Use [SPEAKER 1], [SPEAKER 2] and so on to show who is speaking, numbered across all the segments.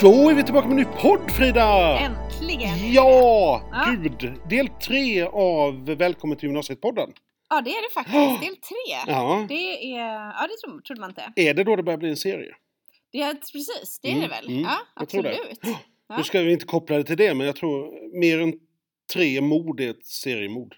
[SPEAKER 1] Då är vi tillbaka med en ny podd Frida!
[SPEAKER 2] Äntligen!
[SPEAKER 1] Ja,
[SPEAKER 2] Ja.
[SPEAKER 1] gud! Del tre av Välkommen till gymnasiet-podden.
[SPEAKER 2] Ja, det är det faktiskt. Del tre.
[SPEAKER 1] Ja.
[SPEAKER 2] Det är... Ja, det tro- trodde man inte.
[SPEAKER 1] Är det då det börjar bli en serie?
[SPEAKER 2] Det är, precis, det är
[SPEAKER 1] Mm,
[SPEAKER 2] det väl?
[SPEAKER 1] mm,
[SPEAKER 2] ja,
[SPEAKER 1] jag tror det.
[SPEAKER 2] absolut. Ja.
[SPEAKER 1] Nu ska vi inte koppla det till det, men jag tror mer än tre mord är ett seriemord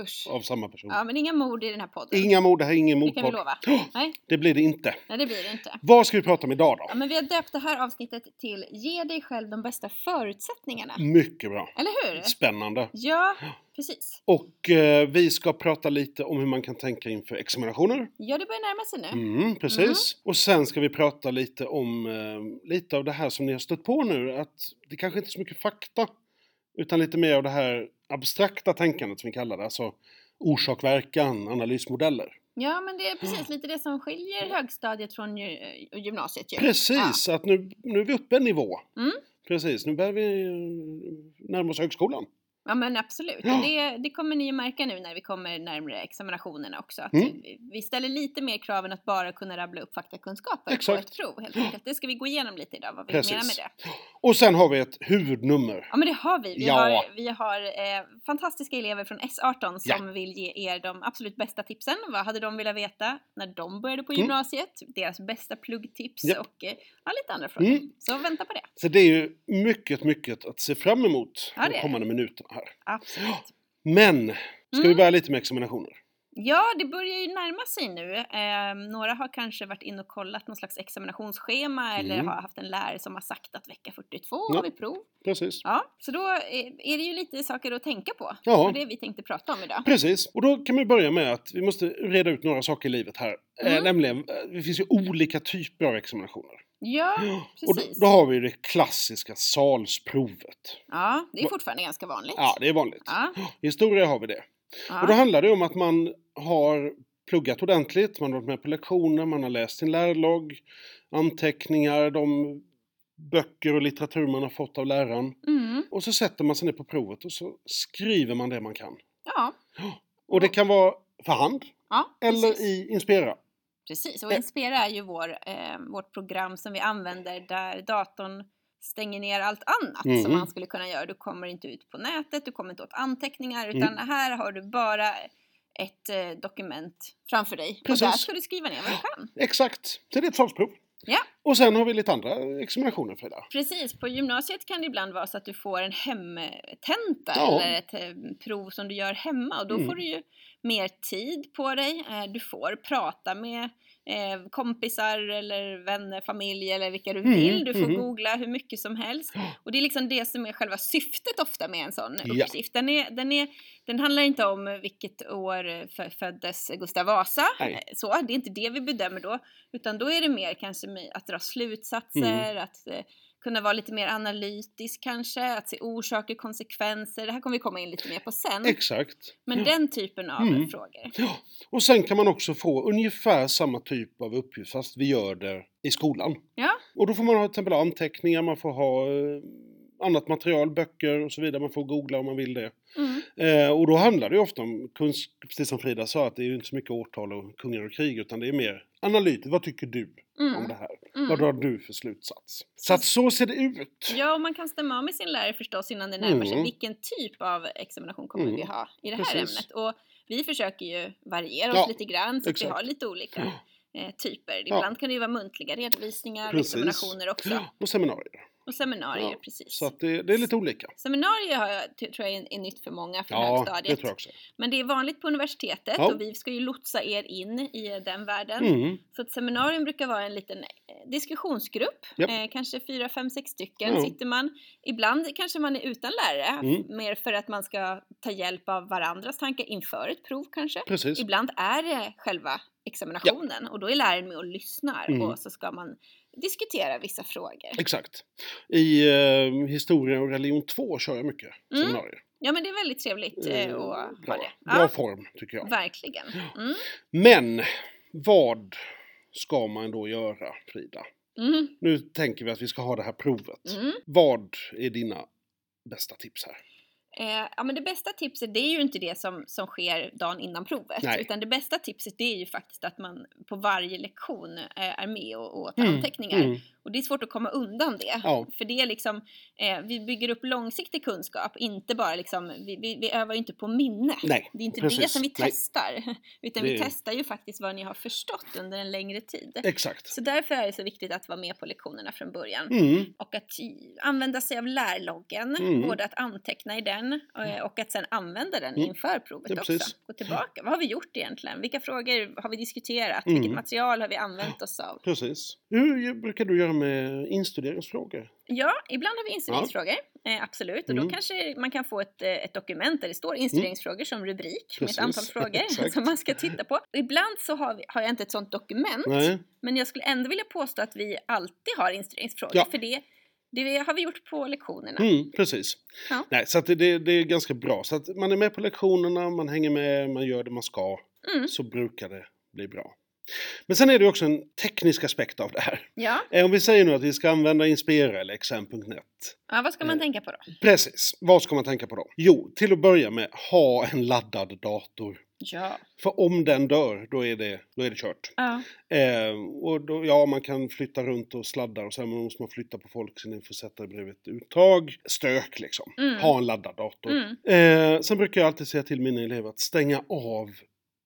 [SPEAKER 2] Usch.
[SPEAKER 1] av samma person.
[SPEAKER 2] Ja, men inga mord i den här podden.
[SPEAKER 1] Inga mord, det här är ingen
[SPEAKER 2] det kan vi
[SPEAKER 1] mordpodd.
[SPEAKER 2] lova.
[SPEAKER 1] Ja.
[SPEAKER 2] Nej,
[SPEAKER 1] Det blir det inte.
[SPEAKER 2] nej, det blir det inte.
[SPEAKER 1] Vad ska vi prata om idag då?
[SPEAKER 2] Ja, men vi har döpt det här avsnittet till Ge dig själv de bästa förutsättningarna.
[SPEAKER 1] Mycket bra.
[SPEAKER 2] Eller hur?
[SPEAKER 1] Spännande.
[SPEAKER 2] Ja, precis.
[SPEAKER 1] Och eh, vi ska prata lite om hur man kan tänka inför examinationer.
[SPEAKER 2] Ja, det börjar närma sig nu.
[SPEAKER 1] Mm, precis. Och sen ska vi prata lite om eh, lite av det här som ni har stött på nu. Att det kanske inte är så mycket fakta, utan lite mer av det här abstrakta tänkandet som vi kallar det. Alltså orsak, verkan, analysmodeller.
[SPEAKER 2] Ja, men det är precis lite det som skiljer högstadiet från gy- gymnasiet ju.
[SPEAKER 1] Precis, att nu, nu är vi uppe en nivå.
[SPEAKER 2] Mm.
[SPEAKER 1] Precis, nu börjar vi eh, närma oss högskolan.
[SPEAKER 2] Ja men absolut,
[SPEAKER 1] Ja.
[SPEAKER 2] Och det, det kommer ni ju märka nu när vi kommer närmare examinationerna också. Att
[SPEAKER 1] Mm.
[SPEAKER 2] vi, vi ställer lite mer krav än att bara kunna rabbla upp faktakunskaper på
[SPEAKER 1] Exakt.
[SPEAKER 2] ett prov helt enkelt. Det ska vi gå igenom lite idag, vad vi
[SPEAKER 1] Precis.
[SPEAKER 2] menar med det.
[SPEAKER 1] Och sen har vi ett huvudnummer.
[SPEAKER 2] Ja men det har vi. Vi
[SPEAKER 1] Ja.
[SPEAKER 2] har, vi har eh, fantastiska elever från S18
[SPEAKER 1] Ja.
[SPEAKER 2] som vill ge er de absolut bästa tipsen. Vad hade de velat veta när de började på
[SPEAKER 1] Mm.
[SPEAKER 2] gymnasiet? Deras bästa pluggtips
[SPEAKER 1] Japp.
[SPEAKER 2] och eh, ja, lite andra frågor.
[SPEAKER 1] Mm.
[SPEAKER 2] Så vänta på det.
[SPEAKER 1] Så det är ju mycket, mycket att se fram emot
[SPEAKER 2] Ja, det
[SPEAKER 1] de
[SPEAKER 2] är
[SPEAKER 1] kommande minuterna här.
[SPEAKER 2] Absolut.
[SPEAKER 1] Men, ska vi
[SPEAKER 2] Mm.
[SPEAKER 1] börja lite med examinationer?
[SPEAKER 2] Ja, det börjar ju närma sig nu. Eh, några har kanske varit in och kollat någon slags examinationsschema eller
[SPEAKER 1] Mm.
[SPEAKER 2] har haft en lärare som har sagt att vecka 42
[SPEAKER 1] Ja.
[SPEAKER 2] har vi prov.
[SPEAKER 1] Precis.
[SPEAKER 2] Ja, så då är, är det ju lite saker att tänka på.
[SPEAKER 1] Ja.
[SPEAKER 2] Och det vi tänkte prata om idag.
[SPEAKER 1] Precis, och då kan vi börja med att vi måste reda ut några saker i livet här. Eh,
[SPEAKER 2] Mm.
[SPEAKER 1] nämligen, eh, det finns ju olika typer av examinationer.
[SPEAKER 2] Ja,
[SPEAKER 1] Och då,
[SPEAKER 2] precis.
[SPEAKER 1] då har vi ju det klassiska salsprovet.
[SPEAKER 2] ja, det är
[SPEAKER 1] Va-
[SPEAKER 2] fortfarande ganska vanligt.
[SPEAKER 1] Ja, det är vanligt.
[SPEAKER 2] ja,
[SPEAKER 1] I historia har vi det. Och då
[SPEAKER 2] ja.
[SPEAKER 1] handlar det om att man har pluggat ordentligt, man har varit med på lektioner, man har läst sin lärlogg, anteckningar, de böcker och litteratur man har fått av läraren.
[SPEAKER 2] Mm,
[SPEAKER 1] Och så sätter man sig ner på provet och så skriver man det man kan.
[SPEAKER 2] ja,
[SPEAKER 1] Och det kan vara för hand
[SPEAKER 2] ja
[SPEAKER 1] eller
[SPEAKER 2] precis.
[SPEAKER 1] i Inspira.
[SPEAKER 2] precis.
[SPEAKER 1] Eh.
[SPEAKER 2] Och Inspira är ju vår, eh, vårt program som vi använder där datorn stänger ner allt annat
[SPEAKER 1] Mm.
[SPEAKER 2] som man skulle kunna göra. Du kommer inte ut på nätet, du kommer inte åt anteckningar
[SPEAKER 1] Mm.
[SPEAKER 2] utan här har du bara ett eh, dokument framför dig och där
[SPEAKER 1] Precis.
[SPEAKER 2] ska du skriva ner vad du kan.
[SPEAKER 1] Exakt, så det är ett salsprov.
[SPEAKER 2] Ja.
[SPEAKER 1] Och sen har vi lite andra examinationer Frida.
[SPEAKER 2] Precis, på gymnasiet kan det ibland vara så att du får en hemtenta
[SPEAKER 1] Ja.
[SPEAKER 2] eller ett eh, prov som du gör hemma och då
[SPEAKER 1] Mm.
[SPEAKER 2] får du ju mer tid på dig. Eh, Du får prata med eh, kompisar eller vänner, familj eller vilka du
[SPEAKER 1] Mm,
[SPEAKER 2] vill. Du får
[SPEAKER 1] mhm.
[SPEAKER 2] googla hur mycket som helst. Och det är liksom det som är själva syftet ofta med en sån
[SPEAKER 1] Ja.
[SPEAKER 2] uppgift. Den, är, den, är, den handlar inte om vilket år fö- föddes Gustav Vasa.
[SPEAKER 1] Nej.
[SPEAKER 2] Eh, Så, det är inte det vi bedömer då. Utan då är det mer kanske med att
[SPEAKER 1] Mm.
[SPEAKER 2] dra slutsatser, att eh, kunna vara lite mer analytisk kanske, att se orsaker, konsekvenser. Det här kommer vi komma in lite mer på sen.
[SPEAKER 1] Exakt.
[SPEAKER 2] Mm. Men den typen av
[SPEAKER 1] Mm.
[SPEAKER 2] frågor.
[SPEAKER 1] Ja. Och sen kan man också få ungefär samma typ av uppgift fast vi gör det i skolan.
[SPEAKER 2] Ja.
[SPEAKER 1] Och då får man ha till exempel anteckningar, man får ha eh, annat material, böcker och så vidare. Man får googla om man vill det.
[SPEAKER 2] Mm.
[SPEAKER 1] Eh, och då handlar det ju ofta om, kunsk- precis som Frida sa, att det är ju inte så mycket årtal och kungar och krig utan det är mer analytiskt. Vad tycker du om
[SPEAKER 2] Mm.
[SPEAKER 1] det här? Vad
[SPEAKER 2] Mm.
[SPEAKER 1] drar du för slutsats? Så att så ser det ut.
[SPEAKER 2] Ja, och man kan stämma av med sin lärare förstås innan det närmar sig.
[SPEAKER 1] Mm.
[SPEAKER 2] Vilken typ av examination kommer
[SPEAKER 1] Mm.
[SPEAKER 2] vi ha i det här
[SPEAKER 1] Precis.
[SPEAKER 2] ämnet? Och vi försöker ju variera oss
[SPEAKER 1] Ja,
[SPEAKER 2] lite grann så att vi
[SPEAKER 1] exakt.
[SPEAKER 2] har lite olika eh, typer.
[SPEAKER 1] Ja.
[SPEAKER 2] Ibland kan det ju vara muntliga redovisningar,
[SPEAKER 1] Precis.
[SPEAKER 2] examinationer också.
[SPEAKER 1] Och seminarier.
[SPEAKER 2] Och seminarier,
[SPEAKER 1] Ja,
[SPEAKER 2] precis.
[SPEAKER 1] Så att det, det är lite olika.
[SPEAKER 2] Seminarier har jag, ty- tror jag är, är nytt för många från
[SPEAKER 1] Ja, det
[SPEAKER 2] högstadiet.
[SPEAKER 1] tror jag också.
[SPEAKER 2] Men det är vanligt på universitetet
[SPEAKER 1] Ja.
[SPEAKER 2] och vi ska ju lotsa er in i den världen.
[SPEAKER 1] Mm.
[SPEAKER 2] Så att seminarium brukar vara en liten eh, diskussionsgrupp,
[SPEAKER 1] Japp.
[SPEAKER 2] eh, kanske fyra, fem, sex stycken
[SPEAKER 1] Ja.
[SPEAKER 2] sitter man. Ibland kanske man är utan lärare,
[SPEAKER 1] Mm.
[SPEAKER 2] mer för att man ska ta hjälp av varandras tankar inför ett prov kanske.
[SPEAKER 1] Precis.
[SPEAKER 2] Ibland är det själva examinationen och då är läraren med och lyssnar
[SPEAKER 1] Mm.
[SPEAKER 2] och så ska man diskutera vissa frågor.
[SPEAKER 1] Exakt. I eh, historia och religion 2 kör jag mycket
[SPEAKER 2] Mm.
[SPEAKER 1] seminarier.
[SPEAKER 2] Ja men det är väldigt trevligt eh,
[SPEAKER 1] Eh,
[SPEAKER 2] att ha
[SPEAKER 1] bra,
[SPEAKER 2] det.
[SPEAKER 1] bra
[SPEAKER 2] Ja,
[SPEAKER 1] form tycker jag.
[SPEAKER 2] verkligen. Mm.
[SPEAKER 1] Men vad ska man då göra Frida?
[SPEAKER 2] Mm.
[SPEAKER 1] Nu tänker vi att vi ska ha det här provet.
[SPEAKER 2] Mm.
[SPEAKER 1] Vad är dina bästa tips här?
[SPEAKER 2] Eh, ja, men det bästa tipset det är ju inte det som, som sker dagen innan provet.
[SPEAKER 1] Nej.
[SPEAKER 2] Utan det bästa tipset det är ju faktiskt att man på varje lektion eh, är med och, och tar
[SPEAKER 1] Mm,
[SPEAKER 2] anteckningar.
[SPEAKER 1] mm,
[SPEAKER 2] Och det är svårt att komma undan det.
[SPEAKER 1] Ja.
[SPEAKER 2] För det är liksom, eh, vi bygger upp långsiktig kunskap, inte bara liksom, vi, vi, vi övar ju inte på minne.
[SPEAKER 1] Nej,
[SPEAKER 2] Det är inte det
[SPEAKER 1] precis.
[SPEAKER 2] som vi
[SPEAKER 1] Nej.
[SPEAKER 2] testar, utan
[SPEAKER 1] Det
[SPEAKER 2] vi
[SPEAKER 1] är-
[SPEAKER 2] testar ju faktiskt vad ni har förstått under en längre tid.
[SPEAKER 1] Exakt.
[SPEAKER 2] Så därför är det så viktigt att vara med på lektionerna från början.
[SPEAKER 1] Mm.
[SPEAKER 2] Och att i- använda sig av lärloggen,
[SPEAKER 1] Mm.
[SPEAKER 2] både att anteckna i den eh, och att sen använda den
[SPEAKER 1] Mm.
[SPEAKER 2] inför provet
[SPEAKER 1] Ja,
[SPEAKER 2] också.
[SPEAKER 1] precis.
[SPEAKER 2] Gå tillbaka, vad har vi gjort egentligen? Vilka frågor har vi diskuterat?
[SPEAKER 1] Mm.
[SPEAKER 2] Vilket material har vi använt oss av?
[SPEAKER 1] Precis. Hur ju- brukar du göra med instuderingsfrågor?
[SPEAKER 2] Ja, ibland har vi instuderingsfrågor, eh, absolut. Och då
[SPEAKER 1] Mm.
[SPEAKER 2] kanske man kan få ett, eh, ett dokument där det står instuderingsfrågor som rubrik med
[SPEAKER 1] Precis.
[SPEAKER 2] ett antal frågor
[SPEAKER 1] Exakt.
[SPEAKER 2] som man ska titta på. Och ibland så har, vi, har jag inte ett sånt dokument,
[SPEAKER 1] Nej.
[SPEAKER 2] men jag skulle ändå vilja påstå att vi alltid har instuderingsfrågor,
[SPEAKER 1] Ja.
[SPEAKER 2] för det, det har vi gjort på lektionerna.
[SPEAKER 1] Mm, precis.
[SPEAKER 2] Ja.
[SPEAKER 1] Nej, så att det- det, det är ganska bra. Så att man är med på lektionerna, man hänger med, man gör det man ska.
[SPEAKER 2] Mm.
[SPEAKER 1] Så brukar det bli bra. Men sen är det ju också en teknisk aspekt av det här.
[SPEAKER 2] Ja.
[SPEAKER 1] Eh, Om vi säger nu att vi ska använda Inspira eller XM.net.
[SPEAKER 2] Ja, vad ska man
[SPEAKER 1] Eh,
[SPEAKER 2] tänka på då?
[SPEAKER 1] Precis, vad ska man tänka på då? Jo, till att börja med, ha en laddad dator.
[SPEAKER 2] Ja.
[SPEAKER 1] För om den dör, då är det, då är det kört.
[SPEAKER 2] ja.
[SPEAKER 1] Eh, och då, ja, man kan flytta runt och sladdar och sen måste man flytta på folk så ni får sätta bredvid ett uttag. Stök liksom.
[SPEAKER 2] Mm.
[SPEAKER 1] Ha en laddad dator.
[SPEAKER 2] Mm.
[SPEAKER 1] Eh, sen brukar jag alltid säga till mina elever att stänga av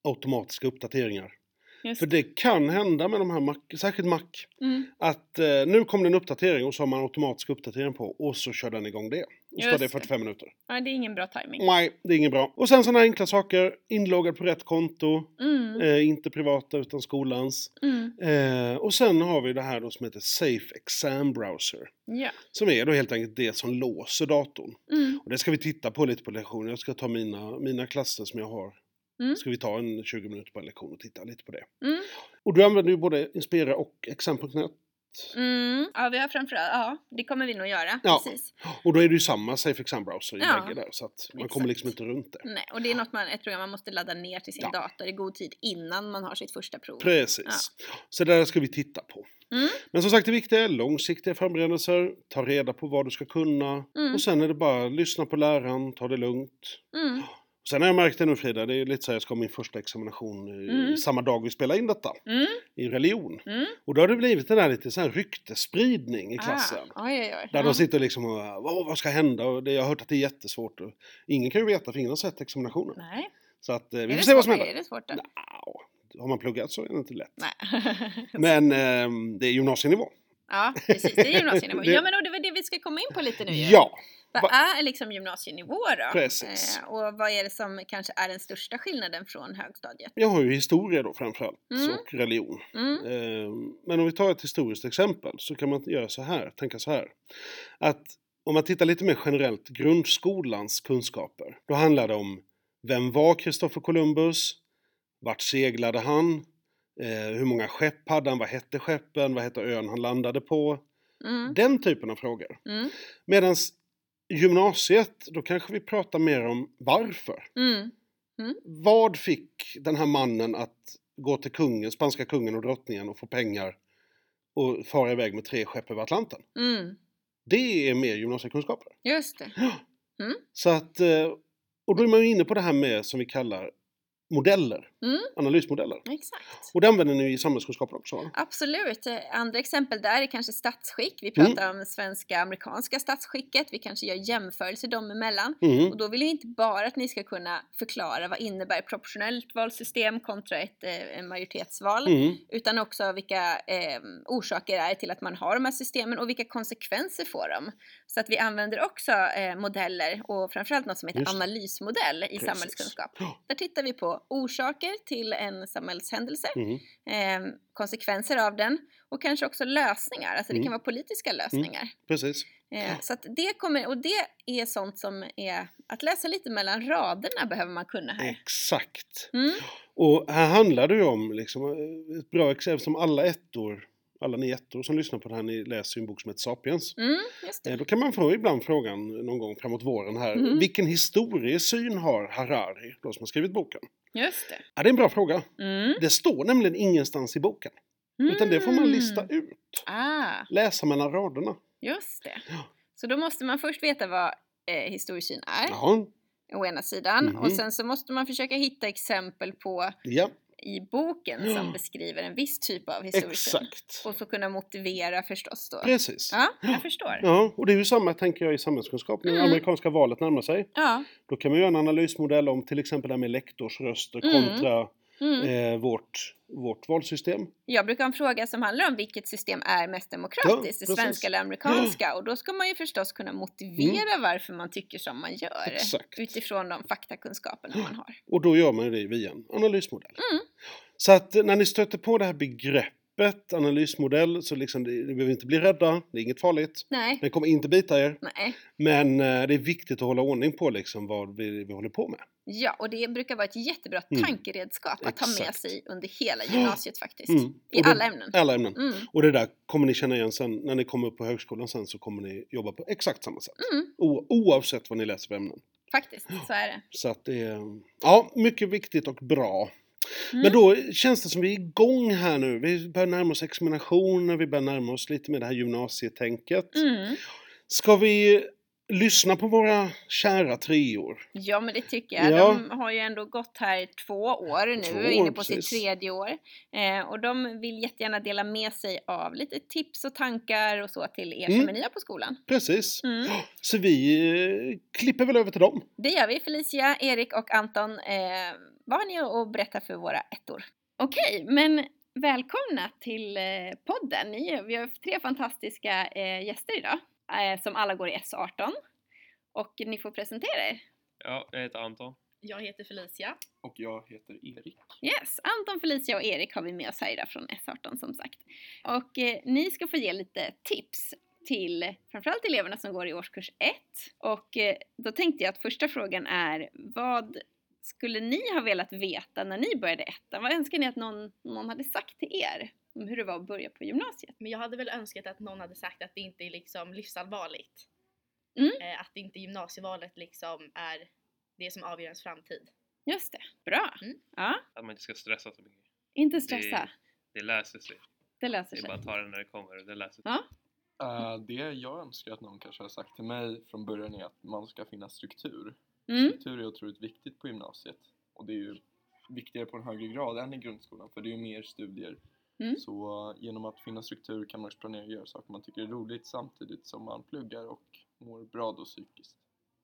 [SPEAKER 1] automatiska uppdateringar.
[SPEAKER 2] Just.
[SPEAKER 1] För det kan hända med de här, Mac, särskilt Mac,
[SPEAKER 2] Mm.
[SPEAKER 1] att eh, nu kom det en uppdatering och så har man automatisk uppdatering på och så kör den igång det. Och så tar
[SPEAKER 2] Just
[SPEAKER 1] det
[SPEAKER 2] det.
[SPEAKER 1] 45 minuter.
[SPEAKER 2] ja, det är ingen bra timing.
[SPEAKER 1] Nej, det är inget bra. Och sen sådana enkla saker, inloggad på rätt konto,
[SPEAKER 2] Mm.
[SPEAKER 1] eh, inte privata utan skolans.
[SPEAKER 2] Mm.
[SPEAKER 1] Eh, och sen har vi det här då som heter Safe Exam Browser.
[SPEAKER 2] Ja.
[SPEAKER 1] Som är då helt enkelt det som låser datorn.
[SPEAKER 2] Mm.
[SPEAKER 1] Och det ska vi titta på lite på lektionen. Jag ska ta mina, mina klasser som jag har.
[SPEAKER 2] Mm.
[SPEAKER 1] Ska vi ta en 20 minuter på en lektion och titta lite på det.
[SPEAKER 2] Mm.
[SPEAKER 1] Och du använder ju både Inspira och Exam.net.
[SPEAKER 2] Mm. Ja, vi har framförallt, ja, det kommer vi nog göra.
[SPEAKER 1] Ja.
[SPEAKER 2] Precis.
[SPEAKER 1] Och då är det ju samma Safe Exam Browser i
[SPEAKER 2] Ja,
[SPEAKER 1] bägge där. Så att man
[SPEAKER 2] exakt.
[SPEAKER 1] kommer liksom inte runt det.
[SPEAKER 2] Nej, och det är något man, ett program man måste ladda ner till sin
[SPEAKER 1] Ja.
[SPEAKER 2] dator i god tid innan man har sitt första prov.
[SPEAKER 1] Precis. Så det där ska vi titta på.
[SPEAKER 2] Mm.
[SPEAKER 1] Men som sagt, det viktiga är långsiktiga förberedelser. Ta reda på vad du ska kunna.
[SPEAKER 2] Mm.
[SPEAKER 1] Och sen är det bara lyssna på läraren, ta det lugnt.
[SPEAKER 2] Mm.
[SPEAKER 1] Sen har jag märkt det nu Frida, det är lite så här, jag ska ha min första examination eh,
[SPEAKER 2] Mm.
[SPEAKER 1] samma dag vi spelar in detta,
[SPEAKER 2] Mm.
[SPEAKER 1] i religion.
[SPEAKER 2] Mm.
[SPEAKER 1] Och då har det blivit den här lite så här ryktesspridning i klassen.
[SPEAKER 2] Ah. Oj, oj, oj.
[SPEAKER 1] Där
[SPEAKER 2] Ja.
[SPEAKER 1] de sitter liksom och Åh, vad ska hända? Och det, jag har hört att det är jättesvårt. Och ingen kan ju veta för ingen har sett examinationen.
[SPEAKER 2] Nej.
[SPEAKER 1] Så att eh,
[SPEAKER 2] Är
[SPEAKER 1] vi
[SPEAKER 2] det
[SPEAKER 1] får se vad som
[SPEAKER 2] svårt-
[SPEAKER 1] händer.
[SPEAKER 2] Är det svårt då?
[SPEAKER 1] Nja, Har man pluggat så är det inte lätt.
[SPEAKER 2] Nej.
[SPEAKER 1] Men ehm, det är gymnasienivå.
[SPEAKER 2] ja, precis. Det är gymnasienivå.
[SPEAKER 1] Det-
[SPEAKER 2] Ja, men och det var det vi ska komma in på lite nu ju.
[SPEAKER 1] Ja,
[SPEAKER 2] Vad är liksom gymnasienivå då?
[SPEAKER 1] Precis.
[SPEAKER 2] Eh, och vad är det som kanske är den största skillnaden från högstadiet?
[SPEAKER 1] jag har ju historia då framförallt
[SPEAKER 2] Mm.
[SPEAKER 1] och religion.
[SPEAKER 2] Mm.
[SPEAKER 1] Ehm, Men om vi tar ett historiskt exempel så kan man göra så här, tänka så här. Att om man tittar lite mer generellt, grundskolans kunskaper. Då handlar det om vem var Kristoffer Columbus? Vart seglade han? Eh, Hur många skepp hade han? Vad hette skeppen? Vad hette ön han landade på?
[SPEAKER 2] Mm.
[SPEAKER 1] Den typen av frågor.
[SPEAKER 2] Mm.
[SPEAKER 1] Medan gymnasiet, då kanske vi pratar mer om varför.
[SPEAKER 2] Mm.
[SPEAKER 1] Vad fick den här mannen att gå till kungen, spanska kungen och drottningen och få pengar och fara iväg med tre skepp över Atlanten?
[SPEAKER 2] Mm.
[SPEAKER 1] Det är mer gymnasiekunskaper.
[SPEAKER 2] Just det.
[SPEAKER 1] Så att, eh, och då är man ju inne på det här med som vi kallar modeller,
[SPEAKER 2] Mm.
[SPEAKER 1] analysmodeller.
[SPEAKER 2] Exakt.
[SPEAKER 1] Och det använder ni ju i samhällskunskapen också? va?
[SPEAKER 2] Absolut. Eh, Andra exempel där är kanske statsskick. Vi
[SPEAKER 1] Mm.
[SPEAKER 2] pratar om svenska amerikanska statsskicket. Vi kanske gör jämförelser dem emellan.
[SPEAKER 1] Mm.
[SPEAKER 2] Och då vill jag inte bara att ni ska kunna förklara vad innebär proportionellt valsystem kontra ett eh, majoritetsval.
[SPEAKER 1] Mm.
[SPEAKER 2] utan också vilka eh, orsaker är till att man har de här systemen och vilka konsekvenser får de. Så att vi använder också eh, modeller och framförallt något som heter
[SPEAKER 1] Just det.
[SPEAKER 2] analysmodell i
[SPEAKER 1] Precis.
[SPEAKER 2] samhällskunskap.
[SPEAKER 1] Ja.
[SPEAKER 2] Där tittar vi på orsaker till en samhällshändelse,
[SPEAKER 1] Mm.
[SPEAKER 2] eh, konsekvenser av den och kanske också lösningar, alltså det
[SPEAKER 1] Mm.
[SPEAKER 2] kan vara politiska lösningar.
[SPEAKER 1] Precis.
[SPEAKER 2] Eh, så att det kommer, och det är sånt som är, att läsa lite mellan raderna behöver man kunna här.
[SPEAKER 1] Exakt.
[SPEAKER 2] Mm,
[SPEAKER 1] Och här handlar det ju om liksom, eh, ett bra exempel som alla ettor, alla ni ettor som lyssnar på det här, ni läser ju en bok som heter Sapiens.
[SPEAKER 2] mm, just det.
[SPEAKER 1] Eh, Då kan man få ibland frågan någon gång framåt våren här,
[SPEAKER 2] Mhm.
[SPEAKER 1] vilken historiesyn har Harari, de som har skrivit boken?
[SPEAKER 2] Just det.
[SPEAKER 1] Ja, det är en bra fråga.
[SPEAKER 2] Mm.
[SPEAKER 1] Det står nämligen ingenstans i boken, utan det får man lista
[SPEAKER 2] Mm. Eh.
[SPEAKER 1] ut,
[SPEAKER 2] Ah.
[SPEAKER 1] läsa mellan raderna.
[SPEAKER 2] Just det.
[SPEAKER 1] Ja.
[SPEAKER 2] Så då måste man först veta vad eh, historisk syn är,
[SPEAKER 1] Jaha,
[SPEAKER 2] å ena sidan.
[SPEAKER 1] Mhm.
[SPEAKER 2] Och sen så måste man försöka hitta exempel på
[SPEAKER 1] ja,
[SPEAKER 2] i boken som beskriver en viss typ av historiesyn.
[SPEAKER 1] Exakt.
[SPEAKER 2] Och så kunna motivera förstås då.
[SPEAKER 1] Precis.
[SPEAKER 2] Ja, jag förstår.
[SPEAKER 1] Ja, och det är ju samma tänker jag i samhällskunskap. När det
[SPEAKER 2] Mm.
[SPEAKER 1] amerikanska valet närmar sig,
[SPEAKER 2] Ja,
[SPEAKER 1] då kan man göra en analysmodell om till exempel det här med lektorsröster
[SPEAKER 2] Mm.
[SPEAKER 1] kontra
[SPEAKER 2] mm.
[SPEAKER 1] eh, vårt, vårt valsystem.
[SPEAKER 2] Jag brukar ha en fråga som handlar om vilket system är mest demokratiskt,
[SPEAKER 1] Ja,
[SPEAKER 2] det
[SPEAKER 1] precis.
[SPEAKER 2] svenska eller amerikanska? Och då ska man ju förstås kunna motivera varför man tycker som man gör.
[SPEAKER 1] Exakt.
[SPEAKER 2] Utifrån de faktakunskaperna man har.
[SPEAKER 1] Och då gör man ju det via en analysmodell.
[SPEAKER 2] Mm.
[SPEAKER 1] Så att eh, när ni stöter på det här begreppet analysmodell så liksom, det- ni behöver inte bli rädda, det är inget farligt.
[SPEAKER 2] Nej,
[SPEAKER 1] Den kommer inte bita er,
[SPEAKER 2] nej.
[SPEAKER 1] men eh, det är viktigt att hålla ordning på liksom vad vi, vi håller på med.
[SPEAKER 2] Ja, och det brukar vara ett jättebra
[SPEAKER 1] Mm.
[SPEAKER 2] tankeredskap att ha med
[SPEAKER 1] Exakt.
[SPEAKER 2] sig under hela gymnasiet faktiskt.
[SPEAKER 1] Mm.
[SPEAKER 2] I
[SPEAKER 1] Och det-
[SPEAKER 2] alla ämnen.
[SPEAKER 1] Alla ämnen.
[SPEAKER 2] Mm.
[SPEAKER 1] Och det där kommer ni känna igen sen, när ni kommer upp på högskolan sen så kommer ni jobba på exakt samma sätt.
[SPEAKER 2] Mm.
[SPEAKER 1] O- oavsett vad ni läser för ämnen.
[SPEAKER 2] Faktiskt, så är det.
[SPEAKER 1] Så att det är, ja, mycket viktigt och bra.
[SPEAKER 2] Mm.
[SPEAKER 1] Men då känns det som vi är igång här nu. Vi börjar närma oss examinationer, vi börjar närma oss lite med det här gymnasietänket.
[SPEAKER 2] Mm.
[SPEAKER 1] Ska vi lyssna på våra kära treor?
[SPEAKER 2] Ja, men det tycker jag.
[SPEAKER 1] Ja.
[SPEAKER 2] De har ju ändå gått här två år nu,
[SPEAKER 1] Två
[SPEAKER 2] är inne
[SPEAKER 1] år,
[SPEAKER 2] på
[SPEAKER 1] precis.
[SPEAKER 2] sitt tredje år. Eh, och de vill jättegärna dela med sig av lite tips och tankar och så till er som
[SPEAKER 1] Mm.
[SPEAKER 2] är nya på skolan.
[SPEAKER 1] Precis.
[SPEAKER 2] Mm.
[SPEAKER 1] Så vi eh, klipper väl över till dem.
[SPEAKER 2] Det gör vi, Felicia, Erik och Anton. Eh, vad har ni att berätta för våra ettor? Okej, men välkomna till eh, podden. Ni, är- vi har tre fantastiska eh, gäster idag eh, som alla går i S18. Och ni får presentera er.
[SPEAKER 3] Ja, jag heter Anton.
[SPEAKER 4] Jag heter Felicia.
[SPEAKER 3] Och jag heter Erik.
[SPEAKER 2] Yes, Anton, Felicia och Erik har vi med oss här idag från S18 som sagt. Och eh, ni ska få ge lite tips till framförallt eleverna som går i årskurs 1. Och eh, då tänkte jag att första frågan är vad skulle ni ha velat veta när ni började ettan? Vad önskar ni att någon, någon hade sagt till er om hur det var att börja på gymnasiet?
[SPEAKER 4] Men jag hade väl önskat att någon hade sagt att det inte är liksom livsallvarligt.
[SPEAKER 2] Mm.
[SPEAKER 4] Eh, Att inte gymnasievalet liksom är det som avgör ens framtid.
[SPEAKER 2] Just det, bra!
[SPEAKER 4] Mm.
[SPEAKER 2] Ja,
[SPEAKER 3] Att man inte ska stressa så mycket.
[SPEAKER 2] inte stressa,
[SPEAKER 3] Det, det löser sig.
[SPEAKER 2] det löser
[SPEAKER 3] Det är
[SPEAKER 2] sig.
[SPEAKER 3] bara att ta det när det kommer. och Det löser sig.
[SPEAKER 2] Ja.
[SPEAKER 5] Eh, det jag önskar att någon kanske har sagt till mig från början är att man ska finna struktur.
[SPEAKER 2] Mm,
[SPEAKER 5] Struktur är otroligt viktigt på gymnasiet och det är ju viktigare på en högre grad än i grundskolan för det är ju mer studier.
[SPEAKER 2] Mm.
[SPEAKER 5] Så eh, genom att finna struktur kan man också planera och göra saker man tycker är roligt samtidigt som man pluggar och mår bra då psykiskt.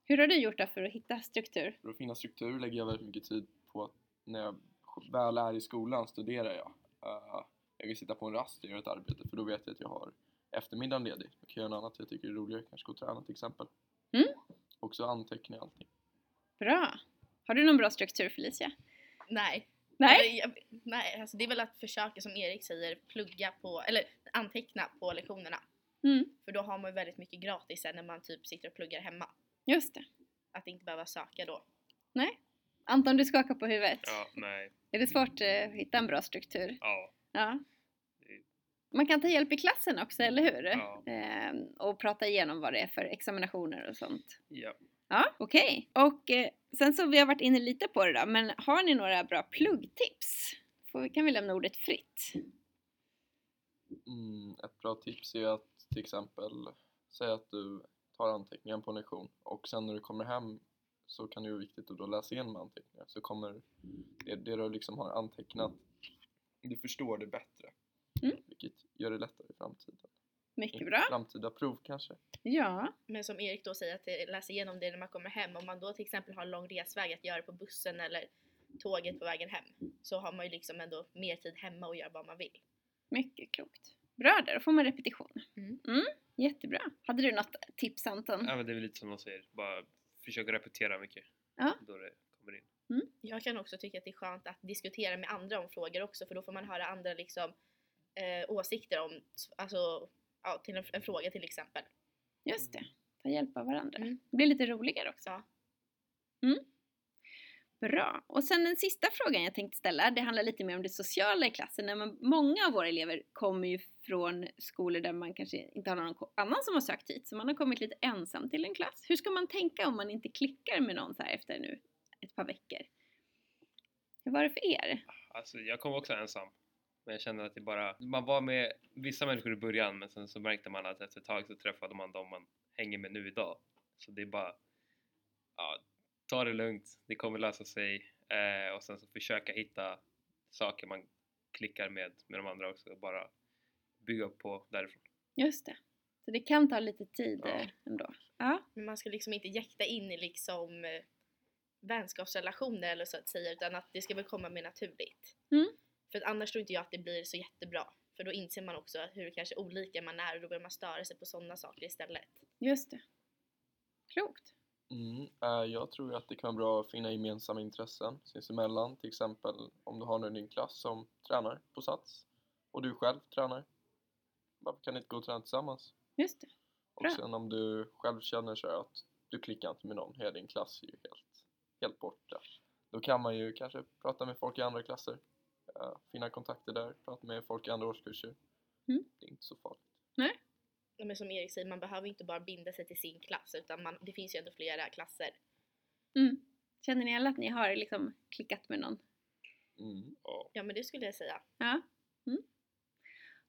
[SPEAKER 2] hur har du gjort då för att hitta struktur?
[SPEAKER 5] För att finna struktur lägger jag väldigt mycket tid på att när jag väl är i skolan studerar jag. Eh, jag kan sitta på en rast och göra ett arbete för då vet jag att jag har eftermiddagen ledig. Då kan jag göra något annat jag tycker är roligare, kanske gå och träna till exempel.
[SPEAKER 2] Mm.
[SPEAKER 5] Och så antecknar jag allting.
[SPEAKER 2] Bra! Har du någon bra struktur Felicia?
[SPEAKER 4] Nej.
[SPEAKER 2] Nej?
[SPEAKER 4] Eller, jag, nej, alltså det är väl att försöka som Erik säger plugga på, eller anteckna på lektionerna.
[SPEAKER 2] Mm,
[SPEAKER 4] För då har man ju väldigt mycket gratis sen när man typ sitter och pluggar hemma.
[SPEAKER 2] just det.
[SPEAKER 4] Att inte behöva söka då.
[SPEAKER 2] Anton, du skakar på huvudet.
[SPEAKER 3] Ja, nej.
[SPEAKER 2] Är det svårt eh, att hitta en bra struktur?
[SPEAKER 3] Ja.
[SPEAKER 2] Ja. Man kan ta hjälp i klassen också, eller hur?
[SPEAKER 3] Ja.
[SPEAKER 2] Ehm, och prata igenom vad det är för examinationer och sånt.
[SPEAKER 3] ja.
[SPEAKER 2] Ja, okej. Och eh, sen så, vi har varit inne lite på det då, men har ni några bra pluggtips? Får, kan vi lämna ordet fritt?
[SPEAKER 5] Mm, ett bra tips är att till exempel säga att du tar anteckningar på en lektion och sen när du kommer hem så kan det ju vara viktigt att då läsa igenom anteckningar så kommer det, det du liksom har antecknat, du förstår det bättre.
[SPEAKER 2] Mm.
[SPEAKER 5] Vilket gör det lättare i framtiden.
[SPEAKER 2] Mycket bra.
[SPEAKER 5] Framtida prov kanske.
[SPEAKER 2] Ja,
[SPEAKER 4] Men som Erik då säger, att eh, läsa igenom det när man kommer hem. Om man då till exempel har en lång resväg att göra på bussen eller tåget på vägen hem. Så har man ju liksom ändå mer tid hemma och gör vad man vill.
[SPEAKER 2] mycket klokt. Bra där, då får man repetition.
[SPEAKER 4] Mm.
[SPEAKER 2] jättebra. Hade du något tips Anton?
[SPEAKER 3] ja, men det är väl lite som de säger. Bara försöka repetera mycket.
[SPEAKER 2] Ja.
[SPEAKER 3] Då det kommer in.
[SPEAKER 4] Jag kan också tycka att det är skönt att diskutera med andra om frågor också för då får man höra andra liksom, eh, åsikter om alltså, ja, till en, en fråga till exempel.
[SPEAKER 2] Just det, ta hjälp av varandra.
[SPEAKER 4] Mm.
[SPEAKER 2] Det blir lite roligare också.
[SPEAKER 4] Så,
[SPEAKER 2] Mm. Bra. Och sen den sista frågan jag tänkte ställa, det handlar lite mer om det sociala i klassen. När man, många av våra elever kommer ju från skolor där man kanske inte har någon ko- annan som har sökt hit, så man har kommit lite ensam till en klass. Hur ska man tänka om man inte klickar med någon så här efter nu ett par veckor? Hur var det för er?
[SPEAKER 3] Alltså, jag kom också ensam. Men jag känner att det bara... Man var med vissa människor i början men sen så märkte man att efter ett tag så träffade man dem man hänger med nu idag. Så det är bara... Ja, ta det lugnt. Det kommer lösa sig. Eh, och sen så försöka hitta saker man klickar med med de andra också och bara bygga upp på därifrån.
[SPEAKER 2] Just det. Så det kan ta lite tid
[SPEAKER 3] Ja.
[SPEAKER 2] eh, ändå. Ja,
[SPEAKER 4] Men man ska liksom inte jäkta in i liksom eh, vänskapsrelationer eller så att säga utan att det ska väl komma mer naturligt.
[SPEAKER 2] Mm.
[SPEAKER 4] För att annars tror inte jag att det blir så jättebra. För då inser man också hur kanske olika man är och då börjar man störa sig på sådana saker istället.
[SPEAKER 2] just det. Klokt.
[SPEAKER 5] Mm, eh, jag tror att det kan vara bra att finna gemensamma intressen sinsemellan. Till exempel om du har någon i din klass som tränar på Sats och du själv tränar. Varför kan ni inte gå och träna tillsammans?
[SPEAKER 2] Just det.
[SPEAKER 5] Och
[SPEAKER 2] Bra.
[SPEAKER 5] sen om du själv känner så här att du klickar inte med någon, hela din klass är ju helt, helt borta. Då kan man ju kanske prata med folk i andra klasser, eh, finna kontakter där, prata med folk i andra årskurser.
[SPEAKER 2] Mm.
[SPEAKER 5] Det är inte så farligt.
[SPEAKER 4] Ja, Men som Erik säger, man behöver inte bara binda sig till sin klass utan man, det finns ju ändå flera klasser.
[SPEAKER 2] Mm. Känner ni alla att ni har liksom klickat med någon?
[SPEAKER 5] Mm.
[SPEAKER 4] Ja men det skulle jag säga.
[SPEAKER 2] Ja. Mm.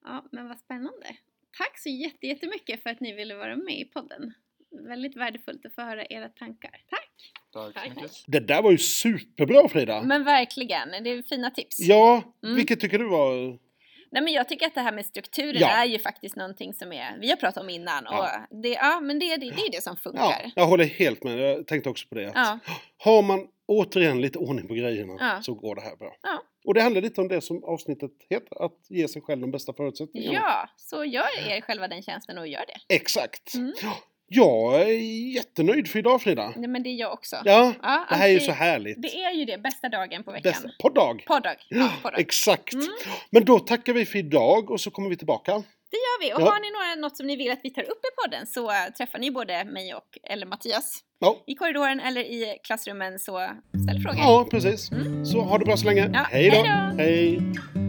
[SPEAKER 2] Ja, men vad spännande. Tack så jätte- jättemycket för att ni ville vara med i podden. Väldigt värdefullt att få höra era tankar. Tack!
[SPEAKER 5] Tack så
[SPEAKER 4] Tack.
[SPEAKER 5] mycket.
[SPEAKER 1] Det där var ju superbra Frida!
[SPEAKER 2] Men verkligen, det är fina tips.
[SPEAKER 1] Ja,
[SPEAKER 2] Mm.
[SPEAKER 1] vilket tycker du var...
[SPEAKER 2] Nej, men jag tycker att det här med strukturen
[SPEAKER 1] Ja.
[SPEAKER 2] är ju faktiskt någonting som är, vi har pratat om innan.
[SPEAKER 1] Ja.
[SPEAKER 2] Och det, ja, men det, det, det är det som
[SPEAKER 1] Ja,
[SPEAKER 2] funkar.
[SPEAKER 1] jag håller helt med, jag tänkte också på det. Att
[SPEAKER 2] Ja.
[SPEAKER 1] Har man återigen lite ordning på grejerna
[SPEAKER 2] Ja.
[SPEAKER 1] så går det här bra.
[SPEAKER 2] Ja.
[SPEAKER 1] Och det handlar lite om det som avsnittet heter, att ge sig själv de bästa förutsättningarna.
[SPEAKER 2] Ja, så gör er själva den tjänsten och gör det.
[SPEAKER 1] Exakt!
[SPEAKER 2] Mm.
[SPEAKER 1] Ja, Jag är jättenöjd för idag Frida!
[SPEAKER 2] Nej, men det är jag också.
[SPEAKER 1] Ja,
[SPEAKER 2] Ja,
[SPEAKER 1] det här är ju
[SPEAKER 2] alltid-
[SPEAKER 1] så härligt!
[SPEAKER 2] Alltså, Det är ju det, bästa dagen på veckan.
[SPEAKER 1] Bästa, poddag!
[SPEAKER 2] Poddag. Ja, poddag.
[SPEAKER 1] Exakt!
[SPEAKER 2] Mm.
[SPEAKER 1] Men då tackar vi för idag och så kommer vi tillbaka.
[SPEAKER 2] Det gör vi. Och
[SPEAKER 1] Ja.
[SPEAKER 2] har ni några, något som ni vill att vi tar upp i podden så eh, träffar ni både mig och eller Mattias
[SPEAKER 1] Ja,
[SPEAKER 2] i korridoren eller i klassrummen så ställ frågor.
[SPEAKER 1] ja precis. Så ha det bra så länge.
[SPEAKER 2] Mm. Ja,
[SPEAKER 1] hej då!
[SPEAKER 2] hej då.
[SPEAKER 1] Hej.